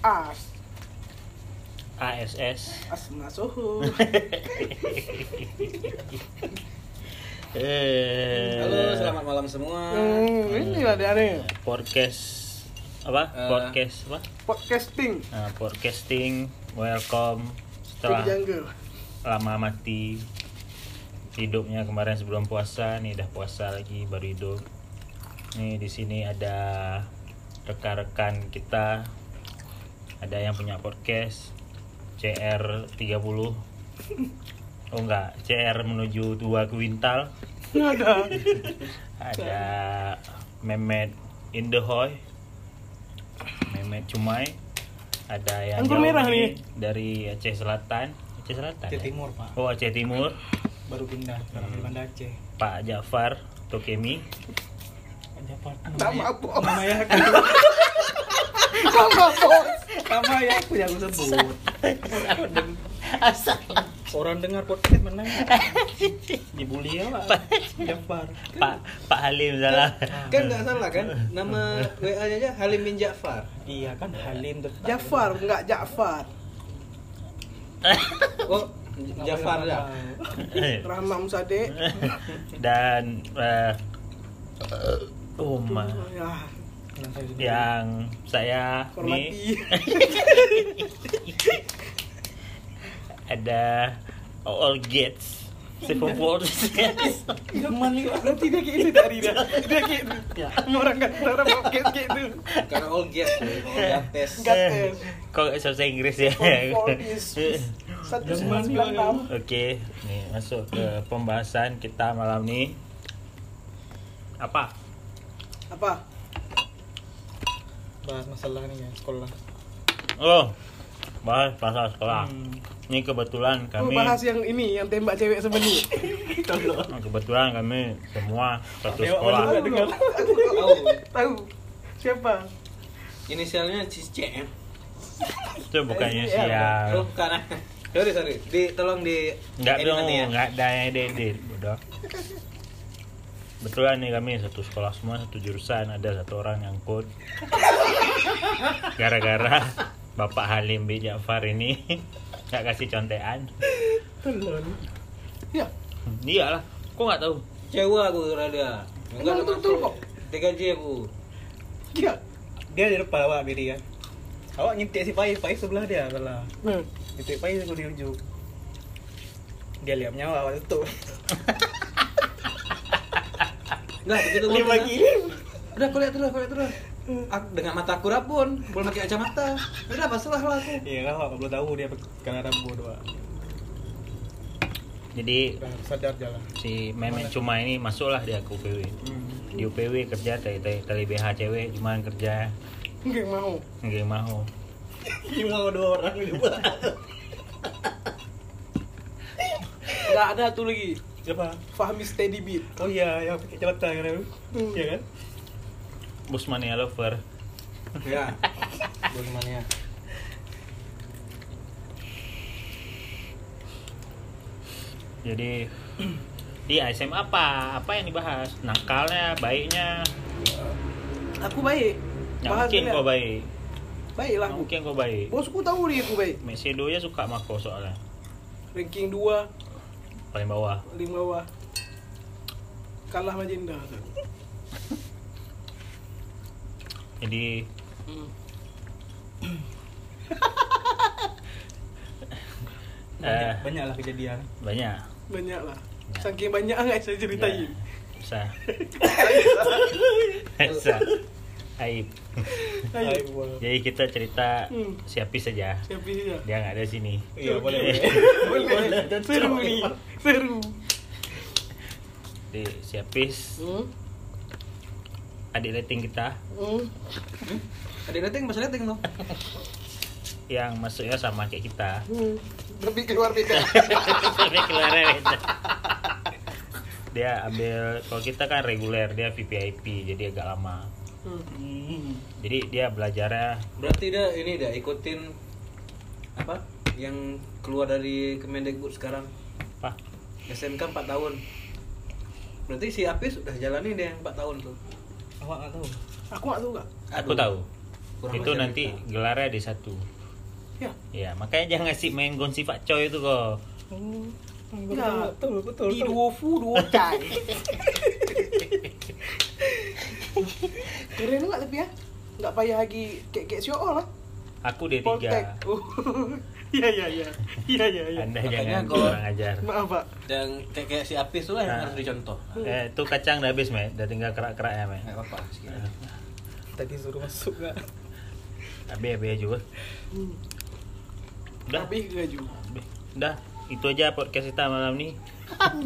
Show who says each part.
Speaker 1: as
Speaker 2: ASS
Speaker 1: asma suhu
Speaker 2: eh
Speaker 3: Halo, selamat malam semua.
Speaker 1: hmm, ini ada aneh
Speaker 2: podcast apa
Speaker 3: Eh.
Speaker 2: podcast apa
Speaker 1: podcasting
Speaker 2: nah, podcasting welcome
Speaker 1: Jadi
Speaker 2: setelah
Speaker 1: jungle
Speaker 2: lama mati hidupnya kemarin sebelum puasa nih udah puasa lagi baru hidup nih di sini ada rekan-rekan kita ada yang punya podcast CR 30 oh enggak CR menuju dua kuintal
Speaker 1: ada
Speaker 2: ada Mehmet Indehoy Mehmet Cumai ada yang
Speaker 1: Anggur
Speaker 2: jauh
Speaker 1: merah nih.
Speaker 2: lagi dari Aceh Selatan Aceh Selatan
Speaker 4: Aceh
Speaker 2: ya?
Speaker 4: Timur, Pak.
Speaker 2: oh Aceh Timur
Speaker 4: baru pindah sekarang di Banda Aceh
Speaker 2: Pak Jafar Tokemi
Speaker 4: ada apa
Speaker 1: tak mabok
Speaker 4: nama ya
Speaker 1: tak mabok
Speaker 4: nama ya aku yang aku sebut
Speaker 2: asal
Speaker 4: orang dengar podcast mana
Speaker 2: dibully ya
Speaker 4: Pak Jafar
Speaker 2: Pak Pak Halim salah
Speaker 3: Kan nggak salah kan? Nama WA-nya aja Halim bin Ja'far.
Speaker 4: iya kan Halim tetap
Speaker 1: Jafar enggak Jafar
Speaker 3: Oh, Ja'far
Speaker 4: ya?
Speaker 3: ya? dah.
Speaker 2: Eh.
Speaker 1: Rahma Musade
Speaker 2: dan eh, Uma
Speaker 1: ya
Speaker 4: yang saya sebut
Speaker 2: yang saya nih
Speaker 1: hormati
Speaker 2: ada All Gates Seven Worlds
Speaker 4: zaman itu
Speaker 1: berarti dia kayak itu dari dia dia kayak itu orang kan orang mau kayak kayak itu
Speaker 3: Karena all gas, all tes.
Speaker 1: Nggak tes.
Speaker 2: Eh, Kok nggak usah bahasa Inggris ya?
Speaker 1: All this. satu sembilan sembilan enam
Speaker 2: Oke, nih masuk ke pembahasan kita malam ini. Apa?
Speaker 1: apa
Speaker 4: bahas masalah nih ya sekolah
Speaker 2: Oh, bahas pasal sekolah.
Speaker 4: Hmm.
Speaker 2: Ini
Speaker 1: Lu
Speaker 2: kebetulan kami
Speaker 1: bahas yang ini yang tembak cewek sebeni
Speaker 4: Gitu
Speaker 2: Nah, kebetulan kami semua satu
Speaker 4: Tembak
Speaker 2: sekolah.
Speaker 4: malu dengar
Speaker 3: Oh,
Speaker 1: tahu siapa
Speaker 3: inisialnya CCM.
Speaker 2: Itu bukannya
Speaker 1: SDR.
Speaker 3: Oh,
Speaker 2: sial.
Speaker 3: bukan. Sorry, sorry. Di, tolong di
Speaker 2: Enggak
Speaker 3: edit
Speaker 2: dong,
Speaker 3: nanti ya.
Speaker 2: enggak ada yang edit, bodoh. Betulan nih kami satu sekolah semua, satu jurusan, ada satu orang nyangkut. Gara-gara Bapak Halim B. Ja'far ini nggak kasih contekan.
Speaker 4: telur
Speaker 1: ya
Speaker 2: Iyalah, Iya kok nggak tahu?
Speaker 3: Cewa aku rada.
Speaker 1: Emang betul kok.
Speaker 3: Digaji aku.
Speaker 1: iya
Speaker 4: dia di depan awak biri kan awak nyentik si Faiz Faiz sebelah dia salah
Speaker 1: Hmm.
Speaker 4: nyentik Faiz aku di ujung dia lihat nyawa awak tutup
Speaker 3: Enggak, begitu gua
Speaker 4: lima
Speaker 3: pernah.
Speaker 4: kilo
Speaker 3: Udah, kau lihat dulu, kau lihat dulu. Aku, dengan mata aku rapun, belum pakai kacamata. Udah, pasrah lah aku.
Speaker 4: Iya kan, awak belum tahu dia kena rambut dua.
Speaker 2: Jadi
Speaker 4: Dah sadar je lah.
Speaker 2: si Memet Cuma ini masuklah dia ke UPW.
Speaker 4: Hmm.
Speaker 2: Di UPW kerja tadi tadi BH cewek cuman kerja
Speaker 1: enggak mau
Speaker 2: nggak mau.
Speaker 4: Lima atau dua orang juga.
Speaker 1: enggak ada tuh lagi
Speaker 4: Siapa?
Speaker 1: Fahmi steady beat
Speaker 4: Oh iya, yang pakai jabatan kan itu.
Speaker 1: Hmm.
Speaker 4: Iya kan?
Speaker 2: Busman ya lover.
Speaker 4: Iya.
Speaker 3: Ya. Bagaimana ya?
Speaker 2: Jadi di ASM apa? Apa yang dibahas? Nakalnya, baiknya.
Speaker 1: aku baik
Speaker 2: Nggak mungkin
Speaker 1: dulu ya.
Speaker 2: kau baik.
Speaker 1: baik lah
Speaker 2: Nggak
Speaker 1: aku
Speaker 2: mungkin kau baik.
Speaker 1: bosku tahu dia aku baik
Speaker 2: Mesedo ya suka mako soalnya
Speaker 1: ranking 2
Speaker 2: paling bawah.
Speaker 1: paling bawah kalah Magenta tuh.
Speaker 2: Jadi
Speaker 1: Hmm.
Speaker 4: Banyak,
Speaker 2: Eh.
Speaker 4: banyak lah kejadian.
Speaker 2: banyak. Iya.
Speaker 1: banyak lah saking banyak nggak saya ceritain
Speaker 2: Bisa. Bisa. Aib.
Speaker 1: Ayo. Ya.
Speaker 4: Aib gua.
Speaker 2: Jadi kita cerita
Speaker 1: Hmm.
Speaker 2: siapi saja.
Speaker 1: siapa sih ya
Speaker 2: Dia nggak ada sini.
Speaker 4: Iya, Ya, boleh.
Speaker 1: boleh seru nih seru
Speaker 2: Di siapis
Speaker 1: hmm?
Speaker 2: adik rating kita
Speaker 1: Hmm?
Speaker 3: Ada rating, masa rating dong.
Speaker 2: yang masuknya sama kayak kita.
Speaker 1: Hmm. lebih keluar beda
Speaker 2: Tapi keluarnya beda. Dia ambil kalau kita kan reguler dia VVIP jadi agak lama.
Speaker 1: Hmm.
Speaker 4: Hmm.
Speaker 2: Jadi dia belajarnya
Speaker 3: Berarti dah ini dah ikutin apa yang keluar dari Kemendikbud sekarang
Speaker 2: apa?
Speaker 3: SMK 4 tahun. Berarti si Apis udah jalani deh yang 4 tahun tuh.
Speaker 4: Awak nggak tahu.
Speaker 1: aku nggak tahu nggak
Speaker 2: Aku tahu.
Speaker 3: Kurang
Speaker 2: itu
Speaker 3: ajar
Speaker 2: nanti
Speaker 3: kita.
Speaker 2: gelarnya di satu.
Speaker 1: Ya.
Speaker 2: Ya, makanya jangan ngasih main gonsi Pak Coy itu kok.
Speaker 1: Ya.
Speaker 4: Betul, betul,
Speaker 1: Di
Speaker 4: betul.
Speaker 1: duo fu kan. duo cai. Keren banget lebih ya. Enggak payah lagi kek-kek sio lah.
Speaker 2: Aku D3.
Speaker 1: Poltek. Iya iya iya. Iya iya iya.
Speaker 2: Anda
Speaker 3: Makanya
Speaker 2: jangan
Speaker 3: kalau-
Speaker 2: kurang ajar.
Speaker 1: Ya, Maaf, Pak.
Speaker 3: Dan kayak, kayak si Apis tuh lah yang
Speaker 2: Nah.
Speaker 3: harus dicontoh.
Speaker 2: Eh, itu kacang udah habis, Meh. Udah tinggal kerak-kerak ya, Meh.
Speaker 3: Enggak apa-apa, sekiranya.
Speaker 4: Tadi suruh masuk nggak?
Speaker 2: Habis-habis juga.
Speaker 1: Hmm.
Speaker 2: Udah.
Speaker 1: Tapi gak juga.
Speaker 2: Udah, itu aja podcast kita malam nih.